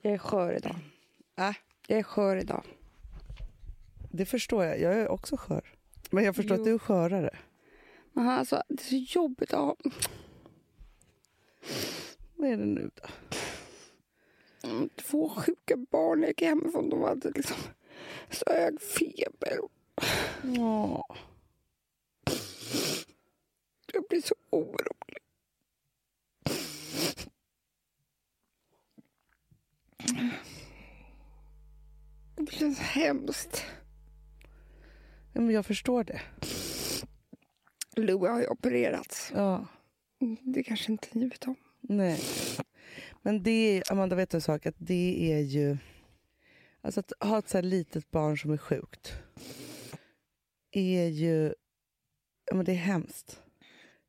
Jag är skör idag. Äh, Jag är skör idag. det förstår jag. Jag är också skör. Men jag förstår Jo. att du är skörare. Men alltså, det är så jobbigt att ha Vad är det nu då? mm, två sjuka barn. Jag gick hemifrån. De hade liksom så hög feber. Åh. Jag blir så orolig. Det känns hemskt. Ja, Men jag förstår det. Lou har ju opererats. Ja. Det kanske inte ni vet om. Nej. Men det är, Amanda, vet du en sak? Att det är ju... Alltså att ha ett så här litet barn som är sjukt är ju... Ja, men det är hemskt.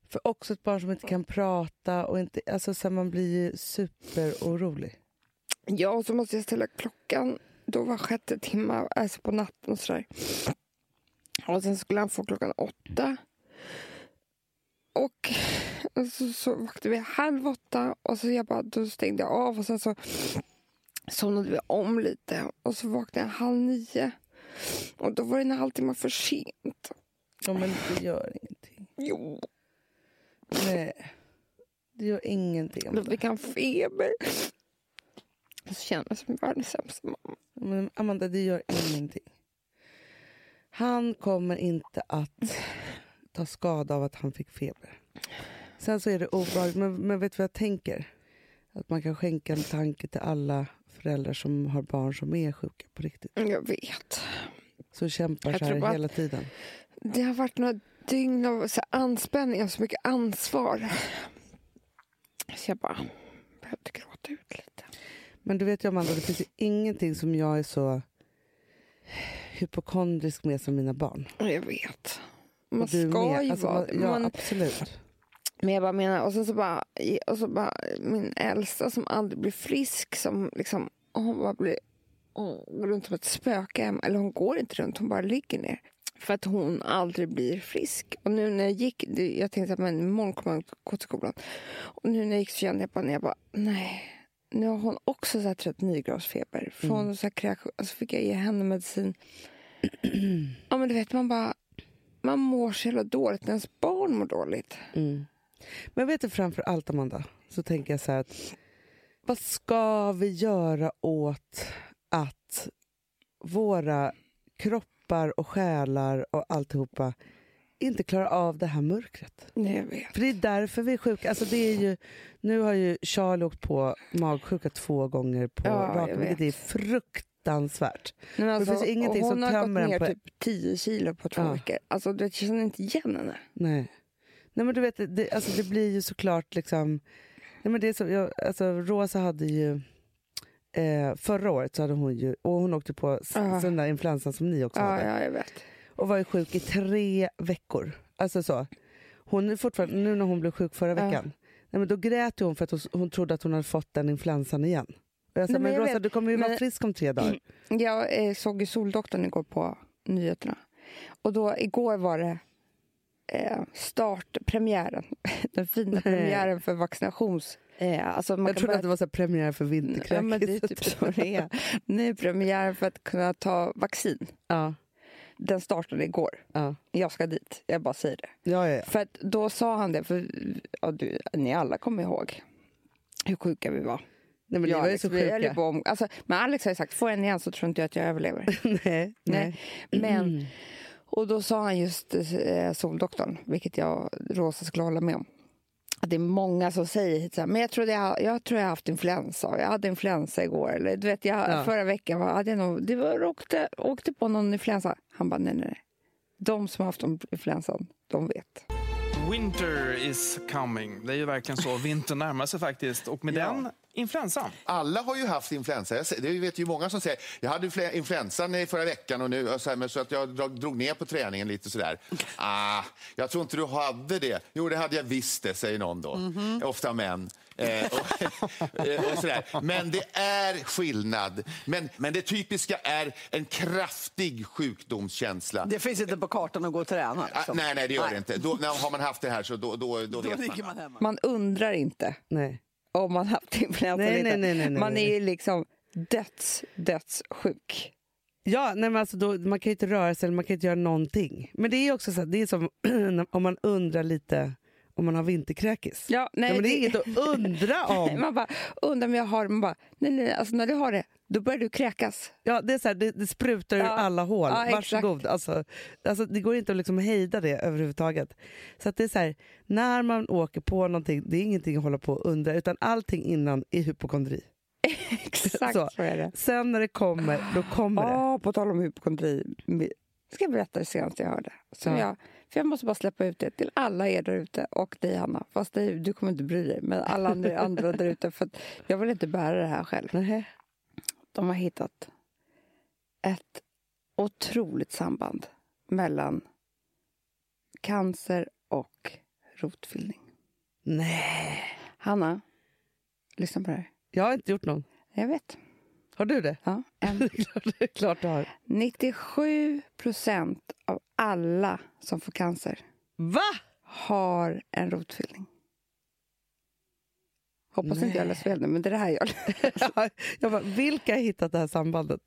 För också ett barn som inte kan prata och inte... Alltså så här, man blir ju superorolig. Ja, och så måste jag ställa klockan då var sjätte timme, alltså på natten och sådär. Och sen skulle han få klockan åtta. Och så, så vaknade vi halv åtta och så jag bara, då stängde jag av och sen så somnade vi om lite och så vaknade jag halv nio. Och då var det en halvtimme för sent. Ja, men det gör ingenting. Jo, Nej. Det gör ingenting. då Amanda. fick han feber. Och så kände jag mig som världens sämsta mamma. Men Amanda, det gör ingenting. Han kommer inte att ta skada av att han fick feber. Sen så är det obehagligt, men, men vet du vad jag tänker? Att man kan skänka en tanke till alla föräldrar som har barn som är sjuka på riktigt. Jag vet. Som kämpar Jag så tror bara att- här hela tiden. Det har varit några dygn av så här anspänning och så mycket ansvar. Så jag bara behövde gråta ut lite. Men du vet ju Amanda, det finns ju ingenting som jag är så hypokondrisk med som mina barn. Jag vet. Man Och du ska med. ju Alltså, vara man- det. Ja, Man, absolut. men jag bara menar, och sen så bara, och så bara min äldsta som aldrig blir frisk som liksom, och hon bara blir hon går runt som ett spöke hemma. Eller hon går inte runt, hon bara ligger ner. För att hon aldrig blir frisk. Och nu när jag gick, det- jag tänkte att men imorgon kommer hon gå till skolan. Och nu när jag gick så kände jag bara, när jag bara nej. Nu har hon också så här 39 graders feber. Från så här kräk, alltså fick jag ge henne medicin. ja men du vet, man bara, man mår så jävla dåligt när ens barn mår dåligt. Mm. Men vet du, framför allt Amanda, så tänker jag så här att vad ska vi göra åt att våra kroppar och själar och alltihopa inte klarar av det här mörkret? Nej, jag vet. För det är därför vi är sjuka. Alltså det är ju, nu har ju Charlie åkt på magsjuka två gånger på Ja, jag raken, vilket vet. är fruktansvärt. Nej, men finns alltså, ingenting hon som har tömmer en gått ner på- typ 10 kilo på två Ja. veckor. Alltså, du vet, jag känner inte igen henne. Nej. Nej men du vet, det, alltså det blir ju såklart liksom... Nej men det är som, jag, alltså Rosa hade ju... Eh, förra året så hade hon ju, och hon åkte på s- Ja. sån där influensan som ni också Ah. Ja, hade. ja, jag vet. Och var ju sjuk i tre veckor. Alltså så. Hon är fortfarande, nu när hon blev sjuk förra Ja. veckan, nej men då grät ju hon för att hon, hon trodde att hon hade fått den influensan igen. Och jag Nej, sa, men men jag Rosa vet. du kommer ju vara Men- frisk om tre dagar. Jag eh, såg ju Soldoktorn igår på nyheterna. Och då, igår var det eh, startpremiären. Den fina premiären för vaccinations... Eh, alltså man Jag kan trodde börja- att det var så här premiär för vinterkräkis. Ja, men det är typ så det är. Nu är premiären för att kunna ta vaccin. ja, Den startade igår. ja. Jag ska dit, jag bara säger det. Ja, ja, ja. För att då sa han det, för ja, du, ni alla kommer ihåg hur sjuka vi var. Nej, men ni Jag och var ju Alex, så vi höll ju sjuka. på om, alltså, men Alex har ju sagt, får jag en igen så tror inte jag att jag överlever. nej, nej. Mm. Nej. Men, och då sa han just eh, Soldoktorn, vilket jag Rosa skulle hålla med om. Att det är många som säger så här, men jag tror jag, jag tror jag har haft influensa. Jag hade influensa igår. Eller du vet, jag, Ja. förra veckan var, hade jag nog, det var, åkte, åkte på någon influensa. Han bara, nej, nej, nej. De som har haft influensan, de vet. Winter is coming. Det är ju verkligen så. Vintern närmar sig faktiskt. Och med den influensan. Alla har ju haft influensa. Jag ser- Det vet ju många som säger jag hade influ- influensan i förra veckan och nu och så, här, men så att jag drog, drog ner på träningen lite sådär. Ah, jag tror inte du hade det. Jo, det hade jag visst det, säger någon då. Ofta män. Eh, och, eh, och sådär. Men det är skillnad. Men, men det typiska är en kraftig sjukdomskänsla. Det finns inte på kartan att gå och träna. Ah, liksom. nej, nej, det gör det inte. Då, när, har man haft det här så då, då, då Då vet ligger man. man hemma. Man undrar inte Nej. om man haft influensa Nej, eller inte. nej, nej, nej, nej, Man är nej. ju liksom döds, dödssjuk. Ja, nej men alltså då, man kan ju inte röra sig eller man kan inte göra någonting. Men det är också så här, det är som om man undrar lite om man har vinterkräkis. Ja, nej, ja, men det är det- inget att undra om. Man bara, undrar om jag har det. Man bara, nej, nej, alltså när du har det, då börjar du kräkas. Ja, det, är så här, det, det sprutar ur Ja. alla hål. Ja, exakt. Varsågod. Alltså, alltså, det går inte att liksom hejda det överhuvudtaget. Så att det är så här, när man åker på någonting, det är ingenting att hålla på och undra utan allting innan är hypokondri. Exakt Så. så, är det. Sen när det kommer, då kommer det. Ja, på tal om hypokondri. Ska jag berätta det senaste jag hörde? Som Ja. jag, för jag måste bara släppa ut det till alla er där ute och dig, Hanna. Fast dig, du kommer inte bry dig, men alla andra, andra där ute. För att jag vill inte bära det här själv. Nähä. De har hittat ett otroligt samband mellan cancer och rotfyllning. Nej, Hanna, lyssna på det här. jag har inte gjort någon. Jag vet. Har du det? Ja, en Det är klart- det är klart du har. 97 procent av alla som får cancer Va? har en rotfyllning. Hoppas inte jag läser fel nu, men det är det här jag Jag bara, vilka har hittat det här sambandet?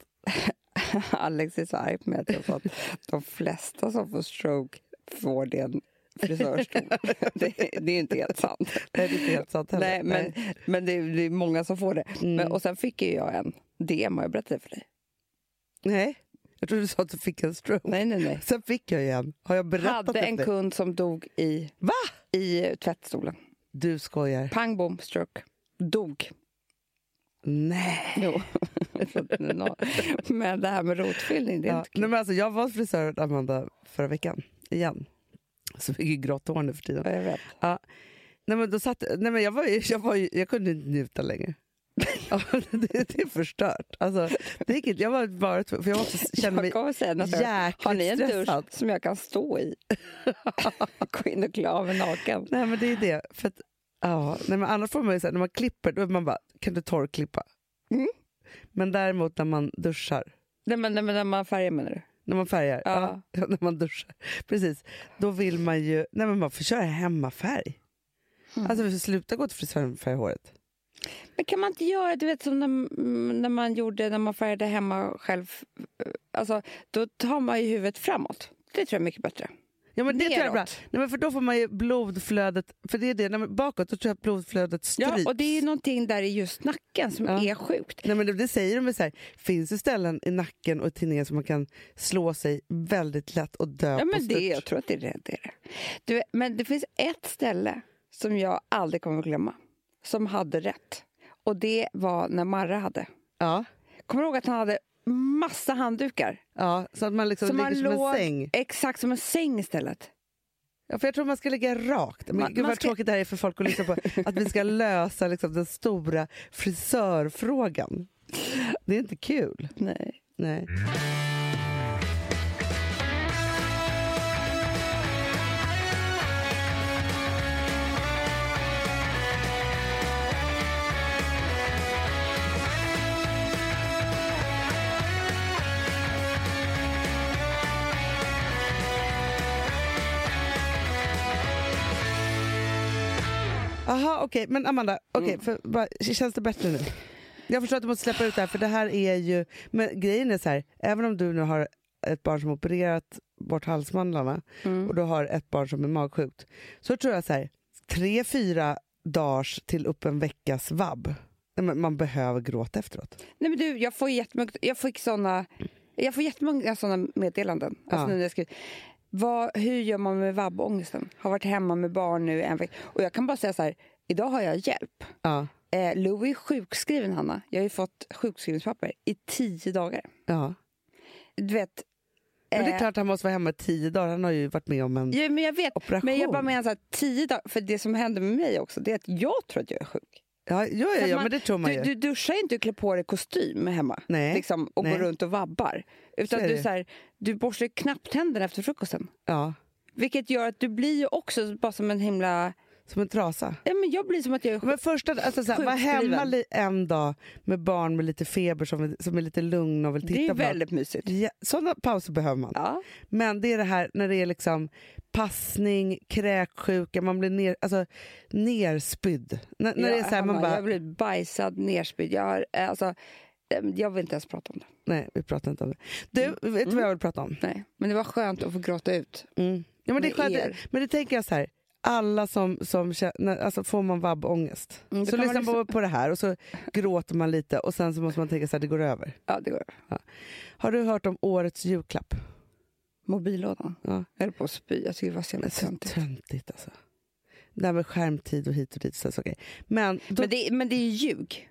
Alex är så arg på mig att jag sa att de flesta som får stroke får det en frisörstol. det, det är inte helt sant. Nej, det är inte helt sant heller. Nej, Mm. men, men det, är, det är många som får det. Men, och sen fick ju jag en DM, har jag berättat det för dig? Nej. Jag trodde du sa att du fick en stroke. Nej, nej, nej. Sen fick jag ju en. Har jag berättat Hade det en för dig? kund som dog i, Va? i tvättstolen. Du skojar. Pang bom stroke. Dog. Nej. Jo. men det här med rotfyllning, det är Ja. inte kul. Nej men alltså, jag var hos frisören Amanda förra veckan. Igen. Så mycket grått hår nu för tiden. Ja, Jag vet. Ja. Nej, men då satt, nej, men jag, var, ju- jag, var, ju- jag kunde inte njuta längre. Ja, det, det är förstört. Alltså, det gick inte. Jag var bara för jag var också, kände mig Jag kommer säga nästa gång. jäkligt Har ni en stressad. dusch som jag kan stå i? Gå in och klä av mig naken. Nej men det är det. För att, ja, nej, men annars får man ju så här, när man klipper, då är man bara, kan du torrklippa? Mm. Men däremot när man duschar, Nej men, nej, men när man färgar menar du? när man färgar, ja. Ja. när man duschar, precis. Då vill man ju, nej men man får köra hemmafärg. Mm. Alltså vi får sluta gå till frisören och färga håret. Men kan man inte göra, du vet som när, mm, när man gjorde när man färgade hemma själv. Alltså, då tar man ju huvudet framåt. Det tror jag är mycket bättre. Ja men det tror jag är bra. Neråt. Nej, men för då får man ju blodflödet, för det är det, när man, bakåt då tror jag att blodflödet Ja, stryps. och det är ju någonting där i just nacken som Ja. är sjukt. Nej, men det, det säger de väl så här, finns det ställen i nacken och i tinningen som man kan slå sig väldigt lätt och dö Ja, på men det, stört? jag tror att det är det. det, är det. Du, vet, men det finns ett ställe som jag aldrig kommer att glömma, som hade rätt. Och det var när Marre hade. Ja. Kommer du ihåg att han hade massa handdukar? Ja, så att man liksom Så man ligger som en låg- säng. Exakt som en säng istället. Ja, för jag tror man ska ligga rakt. Men Man- gud man vad ska- tråkigt det här är för folk att lyssna på. Att vi ska lösa liksom, den stora frisörfrågan. Det är inte kul. Nej. Nej. Aha, okej. Men Amanda, okay, för, bara, känns det bättre nu? Jag förstår att du måste släppa ut det här, för det här är ju... Men grejen är så här, även om du nu har ett barn som opererat bort halsmandlarna och du har ett barn som är magsjukt, så tror jag så här, tre, fyra dagars till upp en veckas vabb. Nej, men Man behöver gråta efteråt. Nej men du, jag får jättemånga, jag fick såna, jag får jättemånga såna meddelanden. Ja. Alltså nu när jag skriver. Vad, hur gör man med vabbångesten? Har varit hemma med barn nu en vecka. Och jag kan bara säga så här, idag har jag hjälp. Ja, Eh, Louie är sjukskriven, Hanna. Jag har ju fått sjukskrivningspapper i tio dagar. ja. Du vet... Men det är eh, klart han måste vara hemma i tio dagar, han har ju varit med om en... Ja, men jag vet. Operation. Men jag bara menar så här, tio dagar. För det som händer med mig också, det är att jag tror att jag är sjuk. Ja, ja, ja, För ja man- men det tror man du, ju. du duschar ju inte och klär på dig kostym hemma. Nej, Liksom, och nej. går runt och vabbar. Utan Så är det. du, så här, du borstar ju knappt tänderna efter frukosten. Ja, Vilket gör att du blir ju också bara som en himla... som en trasa. Ja, men jag blir som att jag är sjuk. Men första, alltså såhär, var Sjukskriven. hemma li- en dag med barn med lite feber som, som är lite lugna och vill titta Det är på något. väldigt mysigt. Ja, sådana pauser behöver man. Ja. Men det är det här när det är liksom passning, kräksjuka, man blir ner, alltså, nerspydd. N- när det är Ja, så här, man Hanna, Jag bara, har blivit bajsad, nerspydd. Jag har, eh, alltså, eh, jag vill inte ens prata om det. Nej, vi pratar inte om det. Du, Mm. vet du vad jag vill prata om? Nej. Men det var skönt att få gråta ut. Mm. Ja, men, det Med är skönt, er. men det tänker jag så här. Alla som, som känner, alltså får man vabbångest, Mm, då så kan man lyssnar man på det här och så gråter man lite och sen så måste man tänka så här, det går över. Ja, det går. Har du hört om årets julklapp? Mobillådan. Ja. Jag höll på att spy. Jag tycker det var så jävla Men så töntigt. töntigt alltså. Det här med skärmtid och hit och dit. Så här, så okej. Men, då, Men det, men det är ju ljug.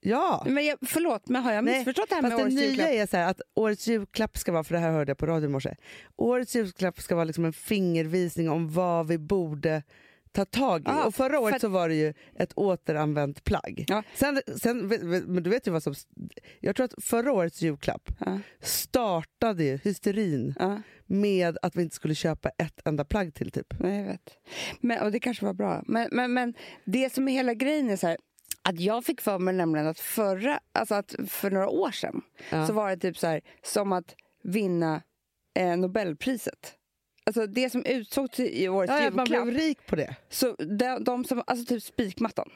ja. Men jag, förlåt, men har jag Nej, missförstått det här med Fast det årets nya julklapp? är så här att årets julklapp ska vara, för det här hörde jag på radio i morse. Årets julklapp ska vara liksom en fingervisning om vad vi borde ta tag i. Ja, och förra året för- så var det ju ett återanvänt plagg. Ja. Sen, sen, men du vet ju vad som... Jag tror att förra årets julklapp Ja. startade ju hysterin Ja, med att vi inte skulle köpa ett enda plagg till typ. nej, jag vet. Men, och det kanske var bra. Men, men, men det som är hela grejen är så här, att jag fick för mig nämligen att, förra, alltså att för några år sedan Ja. så var det typ så här, som att vinna eh, Nobelpriset. Alltså det som utsågs i årets Ja, att man julklapp, blev rik på det. så de, de som, alltså typ spikmattan,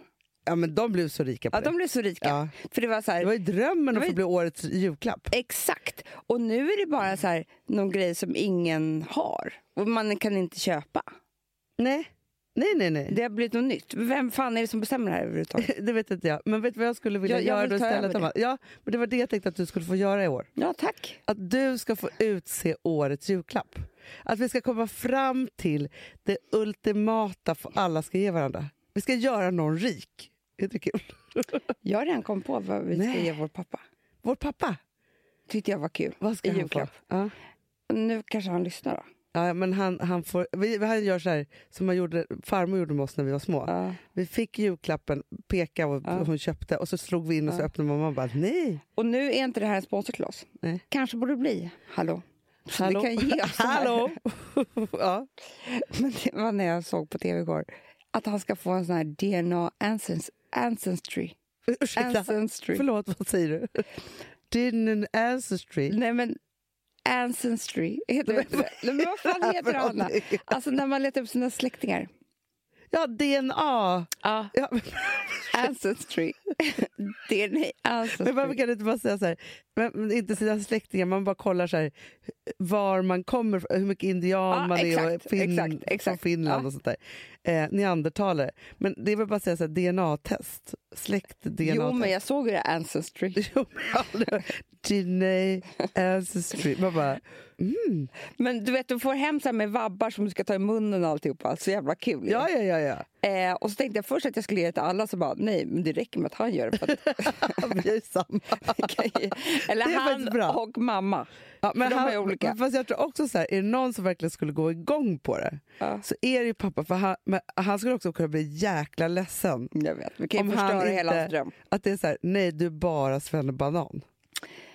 Ja men de blev så rika på ja, det. de blev så rika. Ja. För det var så här, Det var ju drömmen Det att var få ju- bli årets julklapp. Exakt. Och nu är det bara så här, någon grej som ingen har. Och man kan inte köpa. Nej, nej, nej. nej. Det har blivit något nytt. Vem fan är det som bestämmer det här överhuvudtaget? Det vet inte jag. Men vet du vad jag skulle vilja Jag- jag göra vill då ta istället? över det. Anna? Ja, men det var det jag tänkte att du skulle få göra i år. Ja, tack. Att du ska få utse årets julklapp. Att vi ska komma fram till det ultimata för alla ska ge varandra. Vi ska göra någon rik. Det är kul. Jag har redan kommit på vad vi ska Nej. ge vår pappa. Vår pappa, Tyckte jag var kul. vad ska I han julklapp. få? Ja. Nu kanske han lyssnar då. Ja, men han, han, får, vi, han gör så här som han gjorde, farmor gjorde med oss när vi var små. Ja. Vi fick julklappen, peka vad Ja. hon köpte och så slog vi in och så Ja. öppnade mamma och bara nej. Och nu är inte det här en sponsorkloss. Nej. Kanske borde det bli. Hallå. Så Hallå? Ni kan ge oss det här. Hallå! ja. Men det var när jag såg på tv igår. Att han ska få en sån här DNA ancest- ancestry. Ursäkta. ancestry. Förlåt, vad säger du? Din ancestry. Nej men Ancestry heter det. inte det? Nej, men vad fan heter det Hanna? Alltså när man letar upp sina släktingar. Ja, DNA. Ja. Ja, men- Ancestry. Det är nej, ancestry. men varför kan du inte bara säga så här, men- men inte sina släktingar, man bara kollar så här, var man kommer ifrån, hur mycket indian Ja, man är och exakt, fin, exakt, från exakt. Finland Ja. och sånt där. Eh, neandertalare. Men det är väl bara att säga så här, DNA-test. Släkt-DNA-test. Jo men jag såg ju det här Ancestry. Jo, men aldrig. Gene ancestry. Man bara, mm. Men du vet du får hem så här med vabbar som du ska ta i munnen och alltihopa. Så jävla kul ju. ja, ja, ja, ja. eh, Och så tänkte jag först att jag skulle ge det till alla så bara nej men det räcker med att han gör det. För att, Vi är ju samma. eller Det är faktiskt bra. han och mamma. Ja, men För de han, är olika. Fast jag tror också så här, är det någon som verkligen skulle gå igång på det Ja. så är det ju pappa. För han, men han skulle också kunna bli jäkla ledsen. Jag vet, vi kan ju Om han förstöra hela inte- hans dröm. Att det är så här, nej du är bara banan.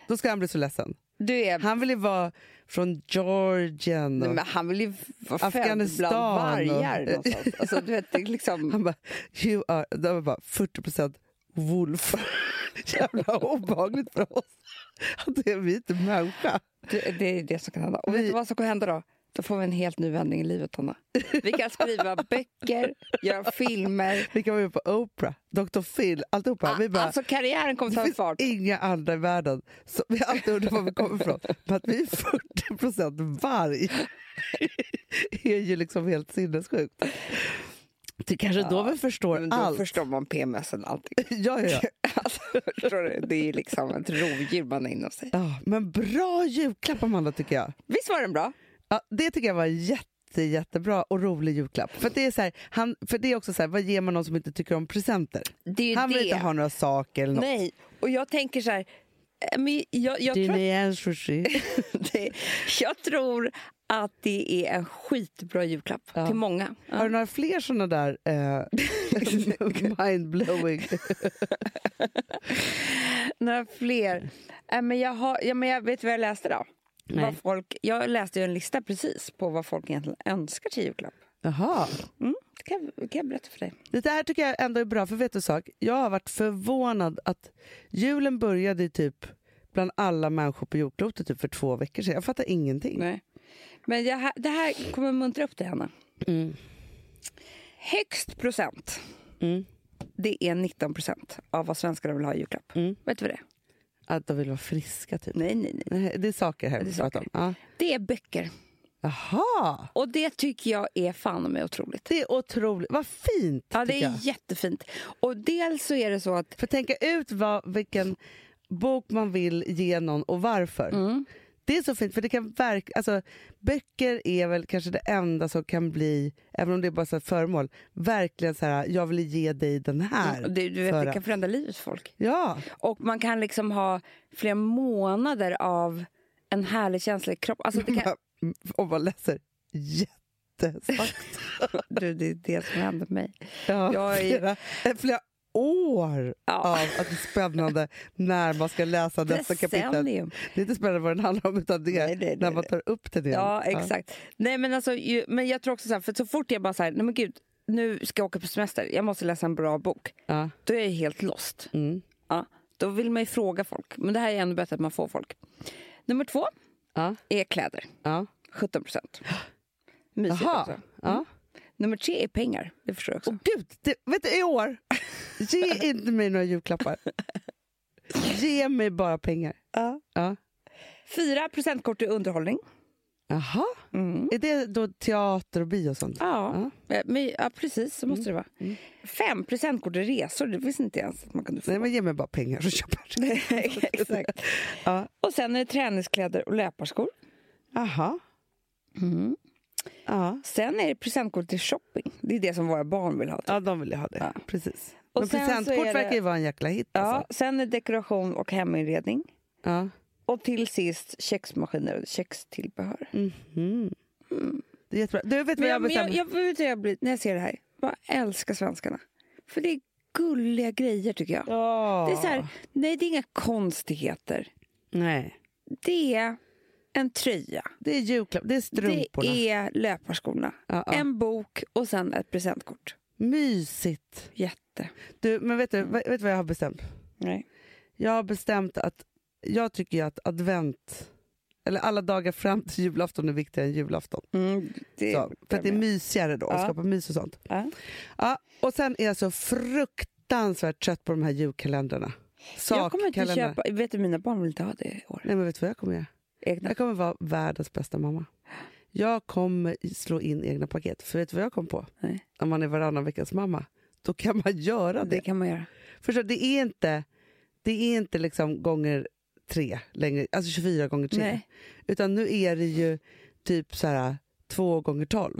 Då ska han bli så ledsen. Du är... Han vill ju vara från Georgien. Nej, Och, men han vill ju vara född Afghanistan bland och- vargar någonstans. Alltså, du vet, det är liksom... han bara, you are, de var bara 40 wolf. Jävla obehagligt för oss. Att det är vi inte människa. Det, det är det som kan hända. Och vet Vi- du vad som kommer hända då? Då får vi en helt ny vändning i livet, Hanna. Vi kan skriva böcker, göra filmer. Vi kan vara med på Oprah, Dr Phil, alltihopa. vi bara, Alltså karriären kommer Det ta finns fart. inga andra i världen som vi alltid undrar var vi kommer ifrån. Men att vi är 40 procent varg är ju liksom helt sinnessjukt. Det kanske då vi förstår Men då allt. förstår man PMSen allting. Ja, ja, ja. Alltså, förstår du? Det är liksom ett rovdjur man har inom sig. ja, men bra julklapp Amanda tycker jag. Visst var den bra? Ja, det tycker jag var jätte, jättebra och rolig julklapp. För det är, så här, han, för det är också så här, vad ger man någon som inte tycker om presenter? Det är ju Han vill det. inte ha några saker eller något. Nej, och jag tänker så här... eh, Men jag, jag, Det är tror att, en sushi. det, jag tror att det är en skitbra julklapp till många. Ja. Har du några fler såna där eh, mindblowing? Några fler? Äh, men jag, har, ja, men jag vet vad jag läste då. Nej. Vad folk, jag läste ju en lista precis på vad folk egentligen önskar till julklapp. Jaha. Mm, det kan, jag- kan jag berätta för dig. Det här tycker jag ändå är bra, för vet du en sak? Jag har varit förvånad att julen började ju typ bland alla människor på jordklotet typ för två veckor sedan. Jag fattar ingenting. Nej. Men jag, ha- det här kommer muntra upp dig, Hanna. Mm. Högst procent, Mm. det är 19 procent av vad svenskarna vill ha i julklapp. Mm. Vet du vad det är? Att de vill vara friska typ? Nej, nej, nej. Nej, det är saker här Det vi är pratar om. Ja. Det är böcker. Jaha! Och det tycker jag är fan mig otroligt. Det är otroligt. Vad fint! Ja, det tycker är jag. jättefint. Och dels så är det så att För tänka ut vad, vilken bok man vill ge någon och varför. Mm. Det är så fint, för det kan verk, alltså, böcker är väl kanske det enda som kan bli, även om det är bara så här föremål, verkligen så här, jag vill ge dig den här. Mm, det, du vet, för det att- kan förändra livet för folk. Ja, Och man kan liksom ha flera månader av en härlig känsla i kroppen. Alltså det kan, om man läser jättesakta. du, det är det som händer med mig. Ja, Jag är- flera, eh, flera år Ja. av att det är spännande när man ska läsa nästa kapitel. Det Decennium. är inte spännande vad den handlar om, utan det är Nej, nej, när nej, man tar upp den igen. Ja, exakt. Nej, men, alltså, ju, men jag tror också så här, för så fort jag bara så här, nej men gud, nu ska jag åka på semester, jag måste läsa en bra bok. Ja. Då är jag helt lost. Mm. Ja, då vill man ju fråga folk, men det här är ännu bättre att man får folk. Nummer två Ja. är kläder, Ja. 17 procent. Mysigt Jaha. också. Ja. Oh. Nummer tre är pengar, det förstår jag också. Åh gud, det, vet du, i år, ge inte mig några julklappar. Ge mig bara pengar. Ja. Fyra procentkort är underhållning. Jaha, Mm. är det då teater och bio och sånt? Ja, ja. Eh, Men, ja, precis så Mm. måste det vara. Fem procentkort är resor, det visste inte jag ens att man kunde få. Nej, men ge mig bara pengar så köper jag. det. Exakt. Ja. Och sen är det träningskläder och löparskor. Jaha. Mm. Ja. Sen är det presentkort till shopping. Det är det som våra barn vill ha. typ. ja, de vill ju ha det. Precis. Och men sen så presentkort är det- verkar ju vara en jäkla hit. Ja, Alltså. sen är det dekoration och heminredning. Ja. Och till sist köksmaskiner och kökstillbehör. Mhm. Det är jättebra. Du, Mm. Men vet vad jag, jag men bestämmer? jag, jag, vet du vad jag blir när jag ser det här? Jag älskar svenskarna. För det är gulliga grejer tycker jag. Ja. Det är så här, nej det är inga konstigheter. Nej. Det är en tröja. Det är julklapp, det är strumporna. Det är löparskorna. Ja, ja. En bok och sen ett presentkort. Mysigt. Jätte. Du, men vet du, vet du vad jag har bestämt? Nej. Jag har bestämt att jag tycker ju att advent, eller alla dagar fram till julafton är viktigare än julafton. Mm, det, Så, för att det är mysigare då, Ja. skapar mys och sånt. Ja. Ja, och sen är jag så fruktansvärt trött på de här julkalendrarna. jag kommer inte Sakkalendrar. köpa. Vet du, mina barn vill inte ha det i år. Nej men vet du vad jag kommer göra? Egna. Jag kommer vara världens bästa mamma. Jag kommer slå in egna paket. För vet du vad jag kom på? Nej. När man är varannan veckas mamma, då kan man göra det. Det kan man göra. Förstår, du? det är inte, det är inte liksom gånger tre längre, alltså 24 gånger tre. Nej. Utan nu är det ju typ så här två gånger tolv.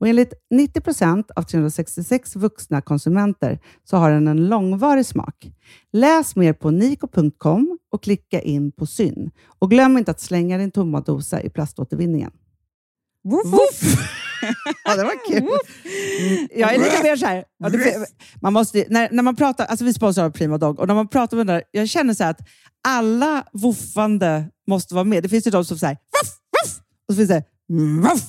Och enligt 90 av 366 vuxna konsumenter så har den en långvarig smak. Läs mer på niko.com och klicka in på Syn. Och glöm inte att slänga din tomma dosa i plaståtervinningen. Woof, woof. Ja, det var kul. Mm, Jag är lite mer så här. Ja, det, man måste, när, när man pratar, alltså vi sponsrar Prima Dog och när man pratar med den där, jag känner så här att alla voffande måste vara med. Det finns ju de som säger voff, voff, och så finns det voff.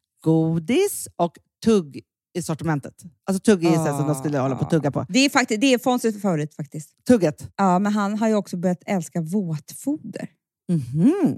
godis och tugg i sortimentet. Alltså tugg är ah. som de skulle hålla på att tugga på. Det är, faktiskt, det är Fonzies favorit faktiskt. Tugget. Ja, men han har ju också börjat älska våtfoder. Mhm.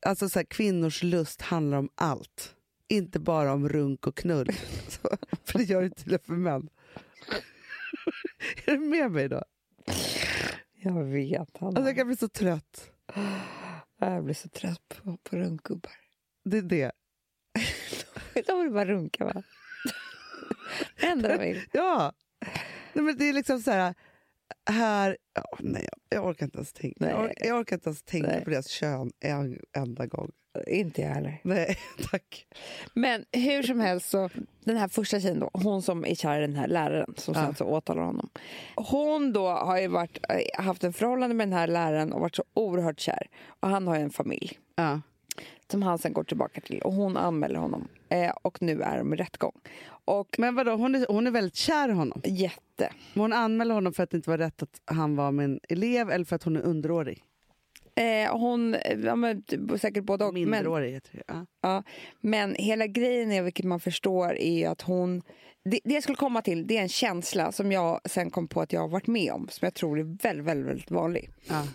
alltså så här, kvinnors lust handlar om allt. Inte bara om runk och knull. Så, för det gör det tydligen för män. är du med mig då? Jag vet, Hanna. Alltså jag kan bli så trött. Jag blir så trött på, på runkgubbar. Det är det. De vill bara runka, va? Det enda de vill. Ja! Nej, men det är liksom så här... här ja, nej, jag- jag orkar inte ens tänka, jag Nej. orkar, jag orkar inte ens tänka Nej. på deras kön en enda gång. Inte jag heller. Nej, tack. Men hur som helst, så, den här första tjejen då, hon som är kär i den här läraren som sen Ja. så åtalar honom. Hon då har ju varit, eh, haft en förhållande med den här läraren och varit så oerhört kär. Och han har ju en familj Ja. som han sen går tillbaka till och hon anmäler honom. Eh, och nu är de i rättegång. Och Men vadå, hon är, hon är väldigt kär i honom. jätte... Men hon anmäler honom för att det inte var rätt att han var min elev eller för att hon är underårig. Eh, hon, eh, ja, men, typ, säkert både och. Men, Mindreårig heter det. Ja. Ja, men hela grejen är, vilket man förstår, är ju att hon... Det, det jag skulle komma till, det är en känsla som jag sen kom på att jag har varit med om, som jag tror är väldigt, väldigt, väldigt vanlig. Ja.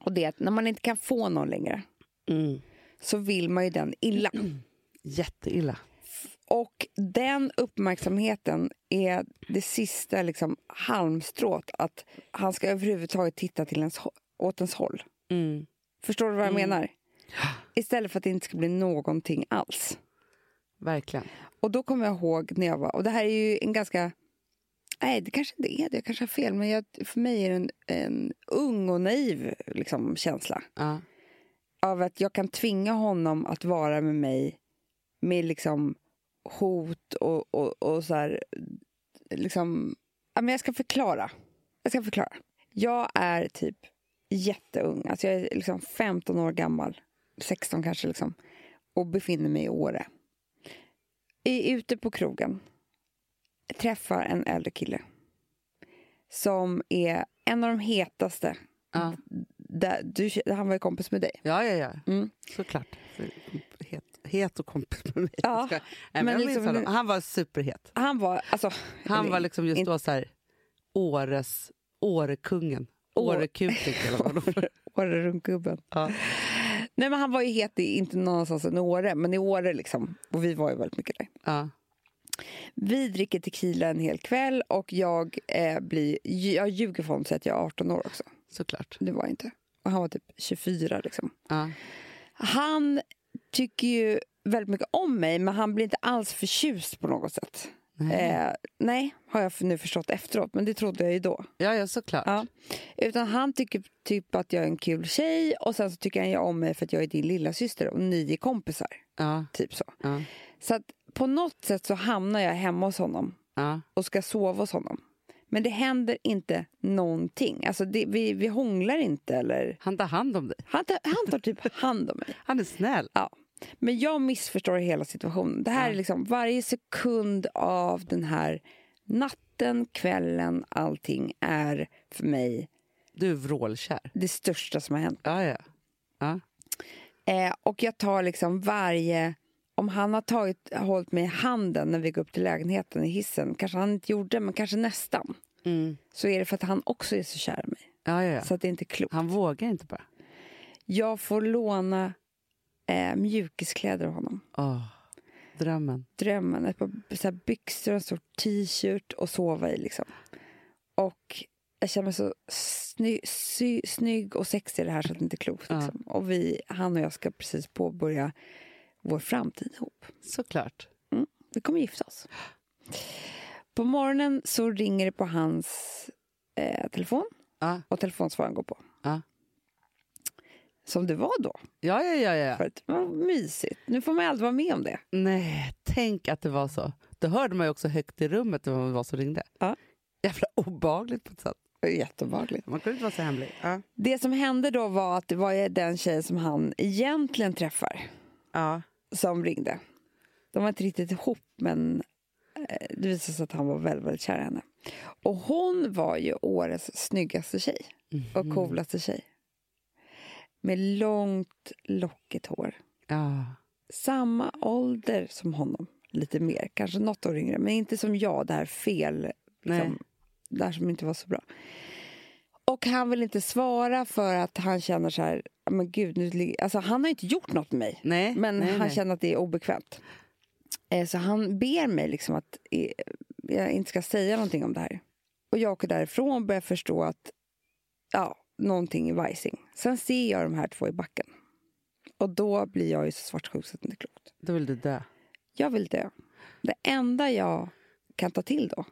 Och det är att när man inte kan få någon längre Mm. så vill man ju den illa. Jätteilla. Och den uppmärksamheten är det sista liksom, halmstrået att han ska överhuvudtaget titta till ens, hå- åt ens håll. Mm. Förstår du vad jag menar? Istället för att det inte ska bli någonting alls. Verkligen. Och då kommer jag ihåg när jag var... Och det här är ju en ganska... Nej, det kanske inte är det. Jag kanske har fel. Men jag, för mig är det en, en ung och naiv liksom, känsla. Ja. Av att jag kan tvinga honom att vara med mig med liksom hot och, och, och så här... Liksom, ja, men jag ska förklara. Jag ska förklara. Jag är typ jätteung. Alltså jag är liksom 15 år gammal. 16 kanske liksom. Och befinner mig i Åre är ute på krogen. Träffar en äldre kille. Som är en av de hetaste. Ja. Där, du, han var ju kompis med dig. Ja, ja, ja. Mm. Såklart. Het, het och kompis med mig. Ja, Jag ska- Nej, men men jag minns liksom- honom. Han var superhet. Han var, alltså, Han var liksom just inte- då så här, Åres, Årekungen. Å- Årekuken kallar man honom. Årerunkgubben. Ja. Nej men han var ju het, i, inte någon annanstans än Åre, men i Åre liksom. Och vi var ju väldigt mycket där. Ja. Vi dricker tequila en hel kväll och jag eh, blir, jag ljuger för honom och säger att jag är 18 år också. Såklart. Det var jag inte. Och han var typ 24 liksom. Ja. Han tycker ju väldigt mycket om mig, men han blir inte alls förtjust på något sätt. Nej. Eh, nej, har jag nu förstått efteråt, men det trodde jag ju då. ja, ja, såklart. Ja. Utan han tycker typ att jag är en kul tjej och sen så tycker han ju om mig för att jag är din lilla syster och ni är kompisar. Ja, Typ så. ja, Så att på något sätt så hamnar jag hemma hos honom ja. och ska sova hos honom. Men det händer inte någonting. Alltså det, vi, vi hånglar inte eller... Han tar hand om dig. Han tar, han tar typ hand om mig. Han är snäll. Men jag missförstår hela situationen. Det här är liksom varje sekund av den här natten, kvällen, allting är för mig Du är vrålkär. det största som har hänt. Ja, ja. Eh, och jag tar liksom varje... Om han har tagit, hållit mig i handen när vi går upp till lägenheten i hissen, kanske han inte gjorde, men kanske nästan, Mm. så är det för att han också är så kär i mig. ja, ja, ja. Så att det är inte klokt. Han vågar inte bara. Jag får låna eh, mjukiskläder av honom. Åh, drömmen. drömmen. Ett par så här byxor, en stor t-shirt och sova i. Liksom. Och jag känner mig så sny, sy, snygg och sexig i det här så att det inte är klokt. Ja. Liksom. Och vi, han och jag ska precis påbörja vår framtid ihop. Såklart. Vi kommer gifta oss. På morgonen så ringer det på hans eh, telefon Ja. och telefonsvararen går på. Ja. Som det var då. Ja, ja, ja, ja. För att, vad mysigt. Nu får man ju aldrig vara med om det. Nej, tänk att det var så. Då hörde man ju också högt i rummet vem det var som ringde. Ja. Jävla obehagligt på ett sätt. Det är Jätteobehagligt. Man kunde inte vara så hemlig. Ja. Det som hände då var att det var ju den tjej som han egentligen träffar Ja. som ringde. De var inte riktigt ihop, men eh, det visade sig att han var väldigt, väldigt kär i henne. Och hon var ju årets snyggaste tjej och Mhm. coolaste tjej. Med långt, lockigt hår. ja. Samma ålder som honom, lite mer. Kanske något år yngre, men inte som jag, det här fel... Nej. Liksom, det här som inte var så bra. Och han vill inte svara för att han känner så här, "Ja, men gud, nu ligger-" alltså, han har ju inte gjort något med mig. Nej, men nej, han nej. känner att det är obekvämt. Eh, Så han ber mig liksom att eh, jag inte ska säga någonting om det här. Och jag åker därifrån och börjar förstå att ja, någonting är vajsing. Sen ser jag de här två i backen. Och då blir jag ju så svartsjuk så att det inte är klokt. Då vill du dö. Jag vill dö. Det enda jag kan ta till då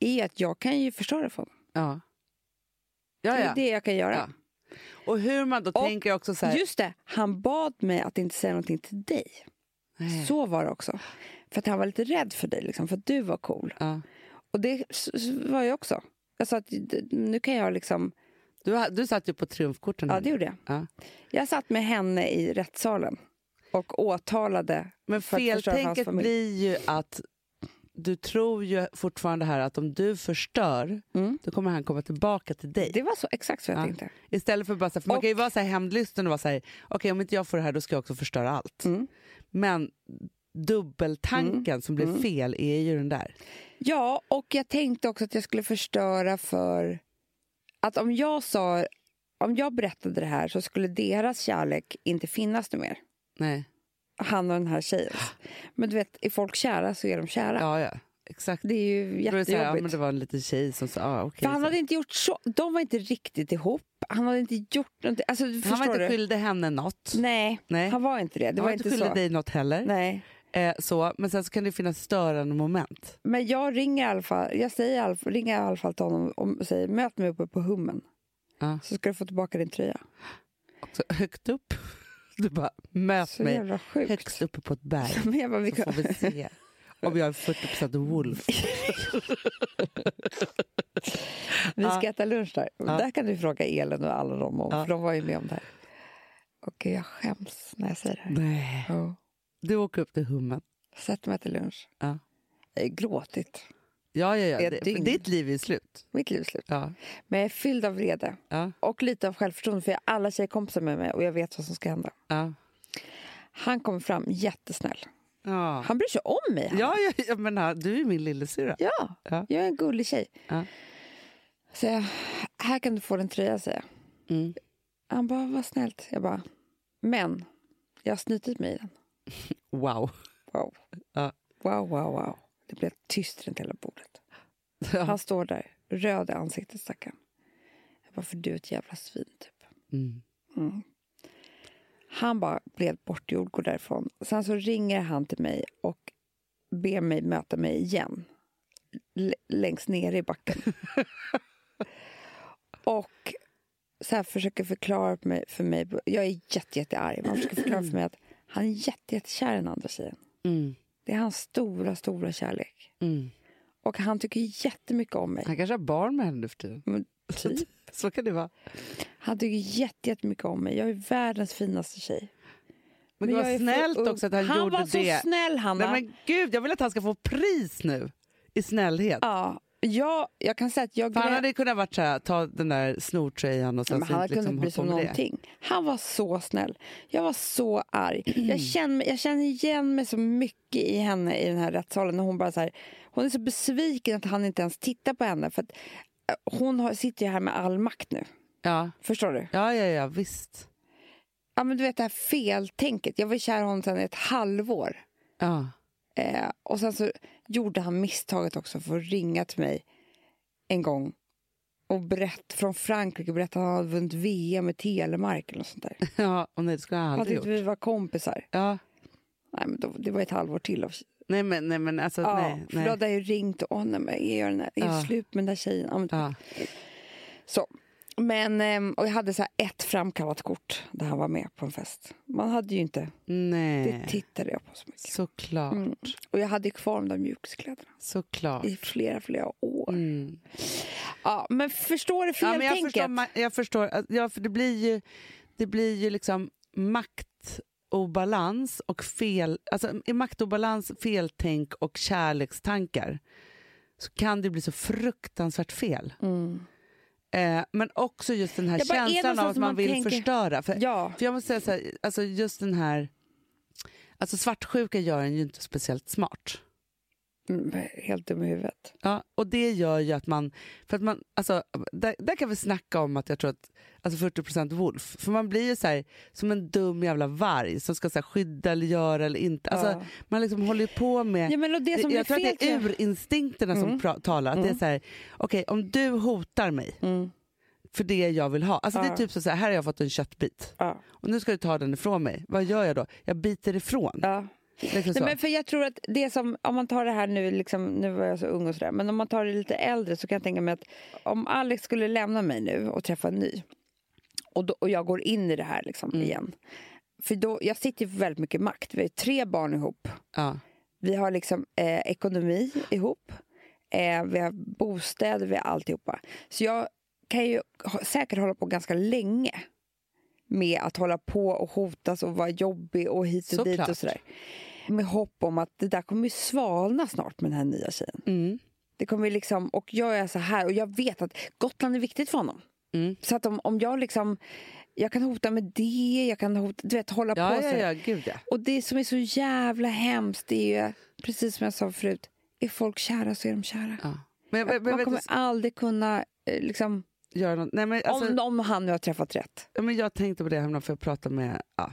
är att jag kan ju förstöra för honom. Ja. Det Ja, är ja. det jag kan göra. Ja. Och hur man då Och tänker också så här... Just det, han bad mig att inte säga någonting till dig. Nej. Så var det också. För att han var lite rädd för dig, liksom, för att du var cool. Ja. Och det s- s- var jag också. Jag sa att d- nu kan jag liksom... Du, ha- du satt ju på triumfkorten. Ja, här. det gjorde jag. Ja. Jag satt med henne i rättssalen och åtalade Men för att förstöra för hans feltänket familj. blir ju att du tror ju fortfarande här att om du förstör, Mm. då kommer han komma tillbaka till dig. Det var så exakt så jag Ja. tänkte. Istället för bara så här, för man Och- kan ju vara så här hämndlysten och vara så här, okej om inte jag får det här då ska jag också förstöra allt. Mm. Men dubbeltanken som blir Mm. fel är ju den där. Ja, och jag tänkte också att jag skulle förstöra för att om jag sa om jag berättade det här så skulle deras kärlek inte finnas nu mer. Nej, Han och den här tjejen. Men du vet, är folk kära så är de kära. ja ja, exakt. Det är ju Då är det så här, ja, men jättejobbigt. det var en liten tjej som sa, ah, För okej. han så. hade inte gjort så. De var inte riktigt ihop. Han hade inte gjort någonting. Alltså, han var förstår inte du? skyldig henne något. Nej, Nej. han var inte det. Det han var inte skyldig så. dig något heller. Nej. Eh, så. Men sen så kan det finnas störande moment. Men jag ringer i alla fall, jag säger i alla fall, ringer i alla fall till honom och säger möt mig uppe på hummen. Ja. Så ska du få tillbaka din tröja. Så högt upp. Du bara, möt Så mig jävla sjukt. högst uppe på ett berg. Men jag bara, vi Så kan... får vi se om jag är 40 wolf. Vi ska Ja. äta lunch där. Där kan du fråga Elin och alla dem om, Ja. för de var ju med om det här. Och gud, jag skäms när jag säger det här. Nej. Ja. Du åker upp till hummen. Sätter mig till lunch. Eh, Ja. Jag har gråtit. Ja, ja, ja. Ett Det, dygn. för ditt liv är ju slut. Mitt liv är slut. Ja. Men jag är fylld av vrede Ja. och lite av självförtroende för jag har alla tjejkompisar med mig och jag vet vad som ska hända. Ja. Han kommer fram jättesnäll. Ja. Han bryr sig om mig. han. Ja, ja, ja, men ja, du är min lillasyrra. Ja, Ja. jag är en gullig tjej. Ja. Så jag, här kan du få din tröja, säger jag. Mm. Han bara, vad snällt. Jag bara, men jag har snutit mig i den. Wow. Wow. Ja. Wow, wow, wow. Det blev tyst runt hela bordet. Ja. Han står där, röd i ansiktet, stackaren. Jag bara, för du är ett jävla svin, typ. Mm. Han bara blev bortgjord, går därifrån. Sen så ringer han till mig och ber mig möta mig igen. L- längst ner i backen. och så här försöker förklara för mig, för mig jag är jätte, jättearg, men han försöker förklara för mig att han är jätte, jättekär i den andra tjejen. Mm. Det är hans stora, stora kärlek. Mm. Och han tycker jättemycket om mig. Han kanske har barn med henne nu för tiden. Men typ. Så kan det vara. Han tycker jätte, jättemycket om mig. Jag är världens finaste tjej. Men, det jag är var för snällt ung. också att han, han gjorde var så det. snäll, Hanna. Nej, men gud, jag vill att han ska få pris nu. I snällhet. Ja, jag, jag kan säga att jag För han grät. hade kunnat varit så här, ta den där snortröjan och sen men han hade liksom kunnat bry sig om hålla på med det. någonting. Han var så snäll. Jag var så arg. Jag, känner, mig- jag känner igen mig så mycket i henne i den här rättssalen. När hon, bara så här, hon är så besviken att han inte ens tittar på henne. För att eh, hon har, sitter ju här med all makt nu. Ja. Förstår du? Ja, ja, ja, visst. Ja, men du vet det här feltänket. Jag var kär i honom sedan ett halvår. Ja. Eh, och sen så gjorde han misstaget också för att ringa till mig en gång och berätt, från Frankrike och berätta att han hade vunnit VM med Telemark eller något sånt där. ja. Och nej, det skulle jag Han aldrig tyckte gjort. vi var kompisar. Ja. Nej, men då, det var ett halvår till. Av, Nej, men, nej, men alltså, ja, nej. För då nej. hade jag ju ringt och åh, nej, men är jag, den här, är jag Ja. slut med den där tjejen? Ja, men, Ja. så. Men, ehm, och jag hade så här ett framkallat kort där han var med på en fest. Man hade ju inte, det Nej. tittade jag på så mycket. Såklart. Mm. Och jag hade ju kvar de där mjukiskläderna Såklart. i flera, flera år. Mm. Ja, men förstår du Ja, men jag, feltänket? förstår, ma- jag förstår. att- Ja, för det blir ju, det blir ju liksom maktobalans och fel... Alltså, I maktobalans, feltänk och kärlekstankar så kan det bli så fruktansvärt fel. Mm. Eh, men också just den här Jag bara, är det känslan av någonstans att man, man vill tänker- förstöra. För, Ja. för jag måste säga så här, alltså just den här... Alltså svartsjuka gör en ju inte speciellt smart. Mm, Helt dum i huvudet. Ja, och det gör ju att man... För att man alltså, där, där kan vi snacka om att jag tror att alltså 40% Wolf. För man blir ju så här, som en dum jävla varg som ska så här, skydda eller göra eller inte. Alltså, Ja. Man liksom håller ju på med... Ja, men och det som jag tror blir fel, att det är urinstinkterna som Mm. pra- talar. Att Det är så här, okej om du hotar mig Mm. för det jag vill ha. Alltså Det är Ja. typ så här, här har jag fått en köttbit Ja. och nu ska du ta den ifrån mig. Vad gör jag då? Jag biter ifrån. Ja. Liksom så. Nej, men för jag tror att det som, om man tar det här nu, liksom, nu var jag så ung och sådär, men om man tar det lite äldre så kan jag tänka mig att om Alex skulle lämna mig nu och träffa en ny och, då, och jag går in i det här liksom, igen. För då, jag sitter ju på väldigt mycket makt. Vi har ju tre barn ihop. ja. Vi har liksom eh, ekonomi ihop. Eh, vi har bostäder, vi har alltihopa. Så jag kan ju ha- säkert hålla på ganska länge med att hålla på och hotas och vara jobbig och hit och dit Såklart. och sådär. Med hopp om att det där kommer ju svalna snart med den här nya tjejen. Mm. Det kommer ju liksom, och jag är så här och jag vet att Gotland är viktigt för honom. Mm. Så att om, om jag liksom, jag kan hota med det, jag kan hota, du vet hålla på Ja, ja, sådär. ja, gud ja. Och det som är så jävla hemskt det är ju, precis som jag sa förut, är folk kära så är de kära. ja. Men, men, men, Man vet du, kommer aldrig kunna, eh, liksom, göra något. Nej, men, alltså, om, om han nu har träffat rätt. Ja, men jag tänkte på det häromdagen för jag pratade med, ja.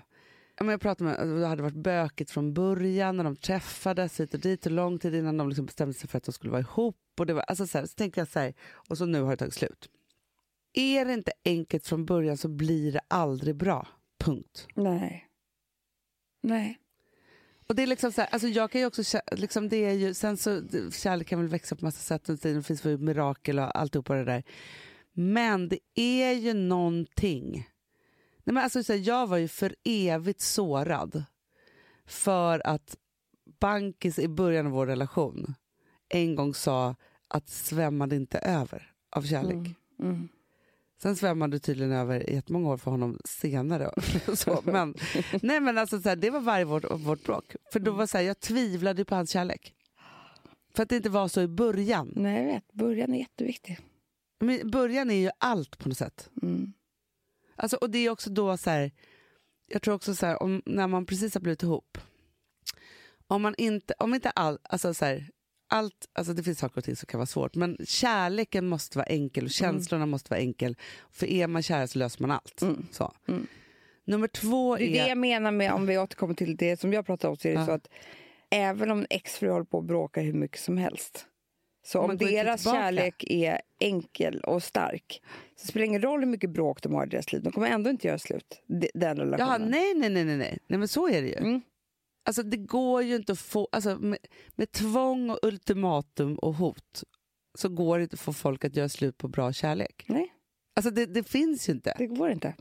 Ja, men jag pratade med, det hade varit bökigt från början när de träffades hit och dit och lång tid innan de liksom bestämde sig för att de skulle vara ihop. Och det var, alltså så, här, så tänkte jag så här, och så nu har det tagit slut. Är det inte enkelt från början så blir det aldrig bra. Punkt. Nej. Nej. Och det är liksom så här, alltså jag kan ju också, kä- liksom det är ju, sen så, kärlek kan väl växa på massa sätt och tiden finns väl mirakel och alltihopa det där. Men det är ju någonting. Nej men alltså så här, jag var ju för evigt sårad för att Bankis i början av vår relation en gång sa att svämmade inte över av kärlek. Mm. Sen svämmade tydligen över i jättemånga år för honom senare. och så. Men, nej men alltså så här, det var varje vårt, vårt bråk. För Mm. då var så här, jag tvivlade på hans kärlek. För att det inte var så i början. Nej, jag vet. Början är jätteviktig. Men början är ju allt på något sätt. Mm. Alltså, och det är också då så här, jag tror också så här, om, när man precis har blivit ihop. Om man inte, om inte all, alltså så här, allt, alltså det finns saker och ting som kan vara svårt, men kärleken måste vara enkel och Mm. känslorna måste vara enkel. För är man kär så löser man allt. Så. Nummer två Mm. Det är det är, jag menar med, om vi återkommer till det som jag pratade om, så är det Ja. så att även om en exfru håller på och bråkar hur mycket som helst, så Man om går inte deras tillbaka. kärlek är enkel och stark, så spelar det ingen roll hur mycket bråk de har i deras liv, de kommer ändå inte göra slut. de- Den relationen. ja, nej, nej, nej, nej, nej, nej, men så är det ju. Mm. Alltså det går ju inte att få, alltså med, med tvång och ultimatum och hot så går det inte att få folk att göra slut på bra kärlek. Nej. Alltså det, det finns ju inte. Det går inte.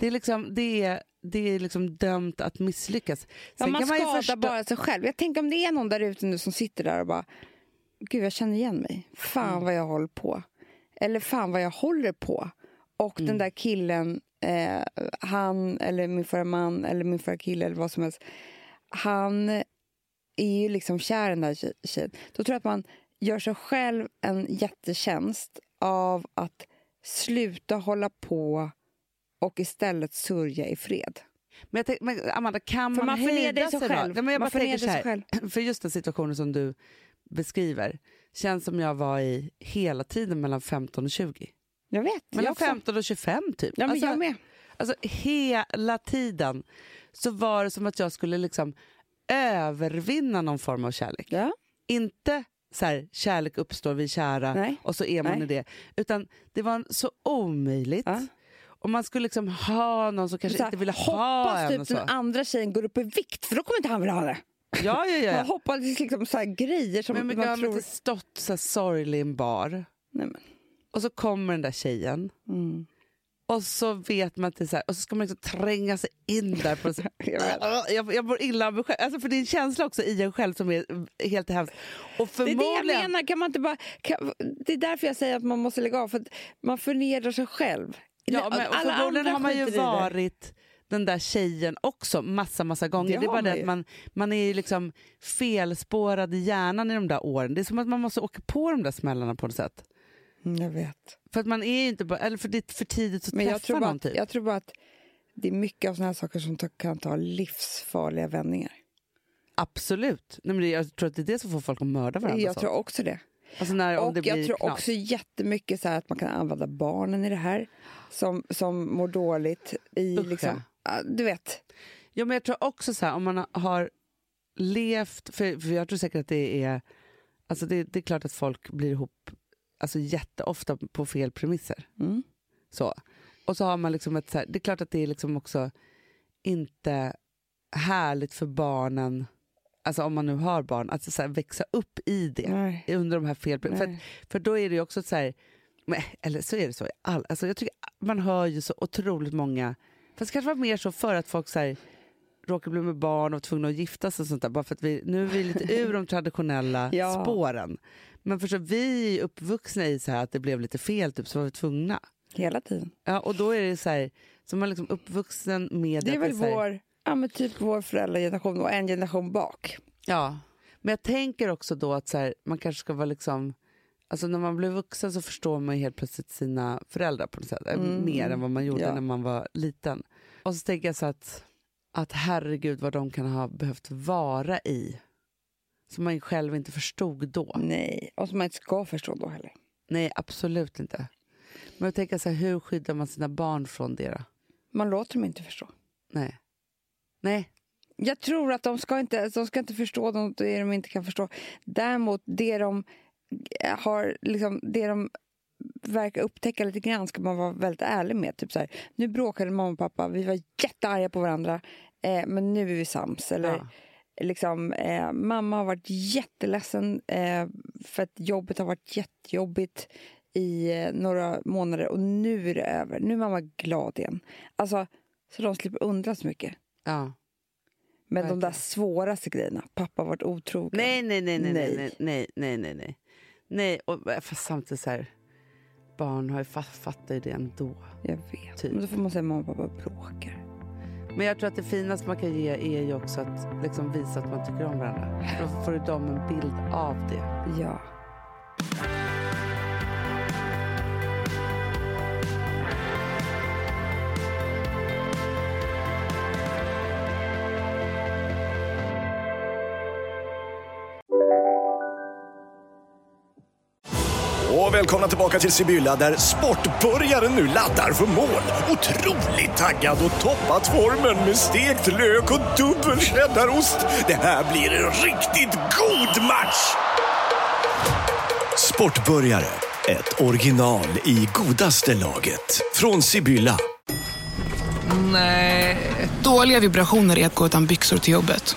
Det är liksom, det är, det är liksom dömt att misslyckas. Ja, man ju skadar förstå- bara sig själv. Jag tänker om det är någon där ute nu som sitter där och bara Gud, jag känner igen mig. Fan Mm. vad jag håller på. Eller fan vad jag håller på. Och Mm. den där killen, eh, han eller min förra man eller min förra kille eller vad som helst. Han är ju liksom kär i den där tje- tjejen. Då tror jag att man gör sig själv en jättetjänst av att sluta hålla på och istället sörja i fred. Men, jag tänk, men Amanda, kan För man, man förnedrar hejda sig sig själv. Då? Nej, men jag Man bara tänker förnedrar så sig här, själv. För just den situationen som du beskriver känns som jag var i hela tiden mellan 15 och 20. Jag vet. Mellan jag också. 15 och 25 typ. Ja, men Alltså- jag med. Alltså hela tiden så var det som att jag skulle liksom övervinna någon form av kärlek. Ja. Inte så här, kärlek uppstår, vi är kära Nej. och så är man Nej. i det. Utan det var så omöjligt. Ja. Och man skulle liksom ha någon som kanske Så här, inte ville ha hoppas en. typ Och så. den andra tjejen går upp i vikt för då kommer inte han vilja ha det. Ja, ja, ja. Man ja. hoppas liksom så här grejer som Men mycket, man jag har tror... inte stått så här sorglig i en bar Nej, men. och så kommer den där tjejen Mm. och så vet man att det är så här, och så ska man liksom tränga sig in där på så Jag vet. Ah, Jag, jag mår illa av mig själv. Alltså, för det är en känsla också i en själv som är helt hemsk. Och Det är det jag förmodligen... menar. Kan man inte bara... Kan... Det är därför jag säger att man måste lägga av. För att man förnedrar sig själv. Ja, men, och Alla förmodligen andra har man ju skiter i det. varit den där tjejen också massa, massa gånger. Det Det, är bara har man det att ju. man, man är ju liksom felspårad i hjärnan i de där åren. Det är som att man måste åka på de där smällarna på något sätt. Mm, Jag vet. För att man är ju inte bara, eller för det är för tidigt att Men träffa jag tror, bara någon att, typ. jag tror bara att det är mycket av såna här saker som ta- kan ta livsfarliga vändningar. Absolut. Nej, men det- jag tror att det är det som får folk att mörda varandra. Jag så. tror också det. alltså när, om Och det jag blir tror knas. också jättemycket så här att man kan använda barnen i det här som, som mår dåligt i Usch, liksom, ah, du vet. Ja, men jag tror också så här, om man har levt, för, för jag tror säkert att det är, alltså det, det är klart att folk blir ihop alltså jätteofta på fel premisser. Mm. Så. Och så har man liksom ett, så här, det är klart att det är liksom också inte härligt för barnen, alltså om man nu har barn, att så här, växa upp i det. Nej. Under de här fel, för, att, Nej. för då är det ju också så här, men, eller så är det så i all, alltså jag tycker man hör ju så otroligt många, fast det kanske var mer så för att folk så här, råkar bli med barn och var tvungna att gifta sig och sånt där, bara för att vi, nu är vi lite ur de traditionella Ja. spåren. Men förstå, vi är uppvuxna i så här att det blev lite fel, typ, så var vi tvungna. Hela tiden. Ja, och då är det så här, så man är liksom uppvuxen med Det är att väl så här, vår, ja, men typ vår föräldrageneration och en generation bak. Ja, men jag tänker också då att så här, man kanske ska vara liksom... Alltså när man blir vuxen så förstår man ju helt plötsligt sina föräldrar på något sätt. eh, Mm. Mer än vad man gjorde Ja. när man var liten. Och så tänker jag så att, att herregud vad de kan ha behövt vara i. Som man ju själv inte förstod då. Mm. Nej, och som man inte ska förstå då heller. Nej, absolut inte. Men jag tänker så här, hur skyddar man sina barn från det då? Man låter dem inte förstå. Nej. Nej. Jag tror att de ska inte, de ska inte förstå något det de inte kan förstå. Däremot, det de har liksom, det de verkar upptäcka lite grann ska man vara väldigt ärlig med. Typ så här, nu bråkade mamma och pappa, vi var jättearga på varandra, eh, men nu är vi sams. Eller, Ja. liksom, eh, mamma har varit jätteledsen eh, för att jobbet har varit jättejobbigt i eh, några månader och nu är det över. Nu är mamma glad igen. Alltså, så de slipper undra så mycket. ja. Men de där Verkligen. svåraste grejerna, pappa har varit otrogen. Nej, nej, nej, nej, nej, Nej. nej, nej, nej, nej, nej. Nej, och fast samtidigt så här, barn har ju fa- fattat ju det ändå. Jag vet. Typ. Men då får man säga mamma och pappa bråkar. Men jag tror att det finaste man kan ge är ju också att liksom visa att man tycker om varandra. För Då får ju de en bild av det. Ja. Och välkomna tillbaka till Sibylla där sportbörjaren nu laddar för mål. Otroligt taggad och toppat formen med stekt lök och dubbel cheddarost. Det här blir en riktigt god match! Sportbörjare, ett original i godaste laget. Från Sibylla. Dåliga vibrationer är att gå utan byxor till jobbet.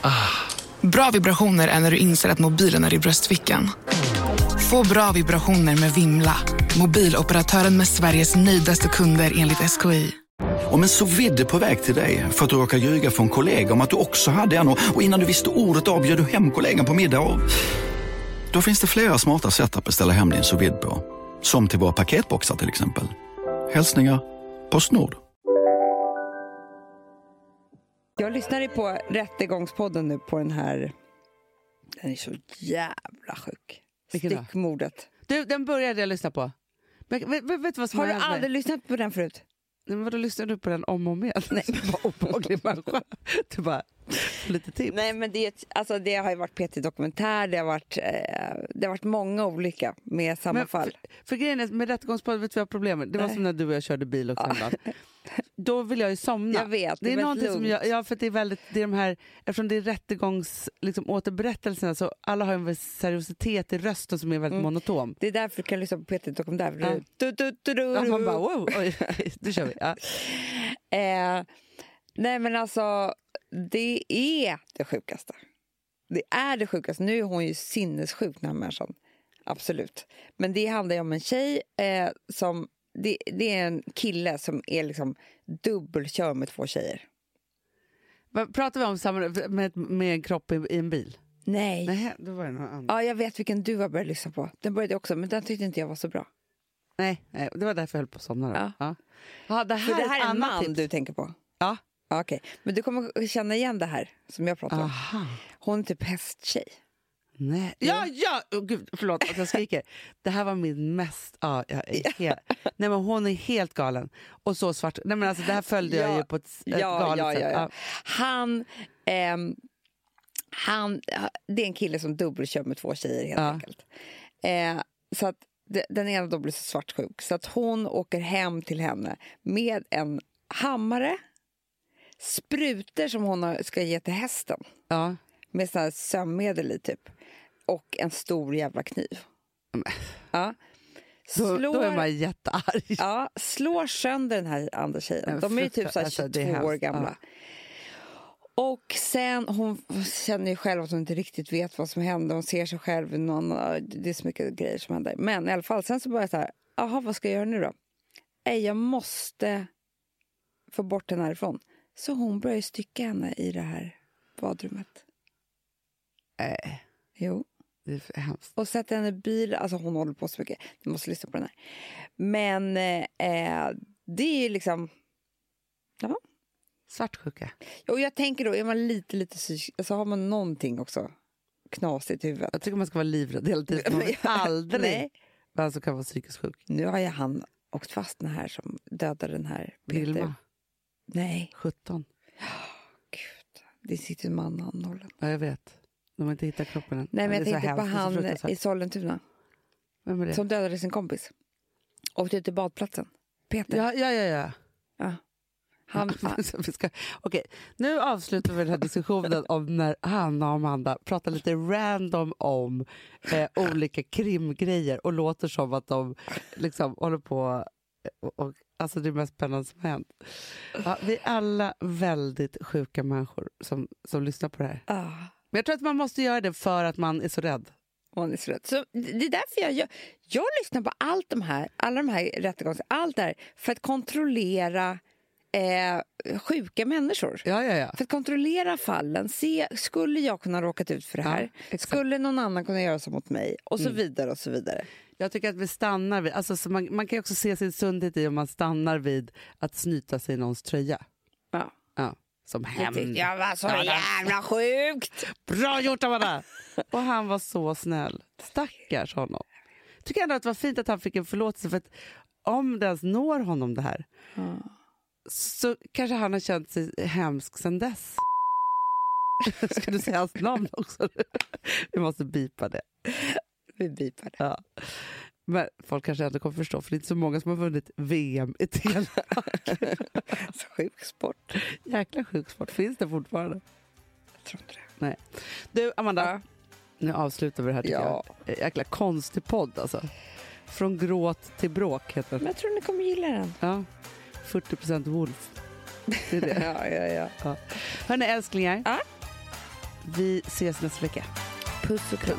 Bra vibrationer är när du inser att mobilen är i bröstfickan. Få bra vibrationer med Vimla. Mobiloperatören med Sveriges nöjdaste kunder enligt SKI. Om en så vidd är på väg till dig för att du råkar ljuga från kollega om att du också hade en och och innan du visste ordet av bjöd du hem kollegan på middag och... Då finns det flera smarta sätt att beställa hem din sous vide på. Som till våra paketboxar till exempel. Hälsningar Postnord. Jag lyssnade på Rättegångspodden nu på den här... Den är så jävla sjuk. Vilken då? Styckmordet. Du, den började jag lyssna på. Men, vet, vet, vet du vad som Har du hänt mig? aldrig lyssnat på den förut? Nej, men vadå, lyssnade du på den om och om igen? Nej. Vad obehaglig människa. Du bara, lite tips. Nej, men det, är ett- alltså, det har ju varit PT Dokumentär, det har varit, eh, det har varit många olika med samma Men fall. För, för grejen är, med rättegångspodden vet vi vad problemet Det var Nej. som när du och jag körde bil också häromdagen. Då vill jag ju somna. Jag vet, det är det är väldigt någonting som lugnt. jag, ja, för att det är väldigt, det är de här, eftersom det är rättegångs, liksom, återberättelserna så alla har en viss seriositet i rösten som är väldigt Mm. monotom. Det är därför du kan lyssna på PT Dokumentär. för Ja. Du, du, du, du, du, Ja, man bara wow, oj, nu kör vi. Ja. Eh, nej, men alltså, det är det sjukaste. Det är det sjukaste. Nu är hon ju sinnessjuk, den här människan. Absolut. Men det handlar ju om en tjej eh, som... Det, det är en kille som är liksom dubbelkör med två tjejer. Vad Pratar vi om samma, med, med en kropp i, i en bil? Nej. Nej, då var det någon annan. Ja, jag vet vilken du har börjat lyssna på. Den började jag också, men den tyckte inte jag var så bra. Nej, nej, det var därför jag höll på att somna. Då. Ja. Ja. Ja. det För här, det här är ett en annat man tips. du tänker på? Ja. Ja, Okej, men du kommer känna igen det här som jag pratar om. Aha. Hon är typ hästtjej. Nej. Ja, ja! Oh, gud, förlåt att jag skriker. Det här var min mest... Ja, jag är helt, nej, men hon är helt galen. Och så svart. Nej, men alltså, det här följde Ja, jag ju på ett, ett Ja, galet ja, ja, sätt. ja. Han, ehm, Han, det är en kille som dubbelkör med två tjejer helt Ja. enkelt. Eh, så att de- den ena då blir så svartsjuk så att hon åker hem till henne med en hammare, sprutor som hon har- ska ge till hästen Ja. med sån här sömnmedel i typ och en stor jävla kniv. Ja. Då, då är Slår- man jättearg. Ja, slår sönder den här andra tjejen. Men De är ju typ fruktar- så här alltså, det 22 är år hemskt. gamla. Och sen, hon känner ju själv att hon inte riktigt vet vad som händer. Hon ser sig själv i någon, det är så mycket grejer som händer. Men i alla fall, sen så börjar jag så här, jaha vad ska jag göra nu då? Nej, jag måste få bort henne härifrån. Så hon börjar ju stycka henne i det här badrummet. Nej, Jo. Äh. det är för hemskt. Och sätter henne i bil. Alltså hon håller på så mycket. Du måste lyssna på den här. Men eh, det är ju liksom... Svartsjuka. Och jag tänker då, är man lite, lite psykisk... Alltså har man någonting också knasigt i huvudet? Jag tycker man ska vara livrädd hela tiden. Man vet aldrig Nej. vem som kan vara psykiskt sjuk. Nu har ju han åkt fast den här som dödade den här Peter. Vilma, Nej, 17. gud. Det sitter en man anhållen. Ja, jag vet. De har inte hittat kroppen än. Nej, men jag Det är så tänkte på hemskt, det är så han fruktansvärt. i Sollentuna Vem är det? som dödade sin kompis. Åkte ut till badplatsen. Peter. Ja, ja, ja. ja. Han, Så vi ska... Okej, nu avslutar vi den här diskussionen om när Hanna och Amanda pratar lite random om eh, olika krimgrejer och låter som att de liksom håller på och, och Alltså det är mest spännande som har hänt. Ja, vi är alla väldigt sjuka människor som, som lyssnar på det här. ah, Men jag tror att man måste göra det för att man är så rädd. hon är slut. Så det det är därför jag, jag, jag lyssnar på allt de här, alla de här rättegångs... Allt det här för att kontrollera eh, sjuka människor. Ja, ja, ja. För att kontrollera fallen, se skulle jag kunna råkat ut för det här? skulle någon annan kunna göra så mot mig? Och så vidare och så vidare. Jag tycker att vi stannar vid, alltså, så man, man kan ju också se sin sundhet i om man stannar vid att snyta sig i någons tröja. Ja. Ja, som Jag hämnd. tyckte jag var så Ja, det- jävla sjukt! Bra gjort Amanda! Och han var så snäll. Stackars honom. Tycker ändå att det var fint att han fick en förlåtelse för att om det ens når honom det här så kanske han har känt sig hemsk sen dess. Ska du säga hans namn också? Vi måste bipa det. Vi bipar det. Ja. Men folk kanske ändå kommer förstå för det är inte så många som har vunnit VM i tele. Så sjuk sport. Jäkla sjuk sport. Finns det fortfarande? Jag tror inte det. Du Amanda, nu avslutar vi det här tycker Ja. jag. Eh, Jäkla konstig podd alltså. Från gråt till bråk heter Men den. jag tror ni kommer gilla den. Ja. 40% Wolf. Det är det. Ja, ja, ja. Hörni älsklingar. Ja. Vi ses nästa vecka. Puss och kram.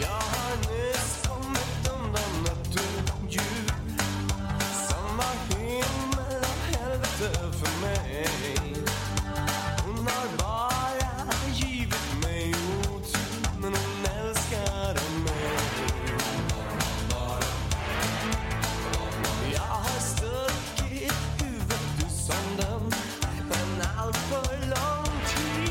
Jag har nyss kommit undan att du ljug Samma himmel och helvete för mig Hon har bara givit mig otur Men hon älskar mig Bara Jag har stuckit huvudet ur sanden Men allt för lång tid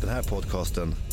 Den här podcasten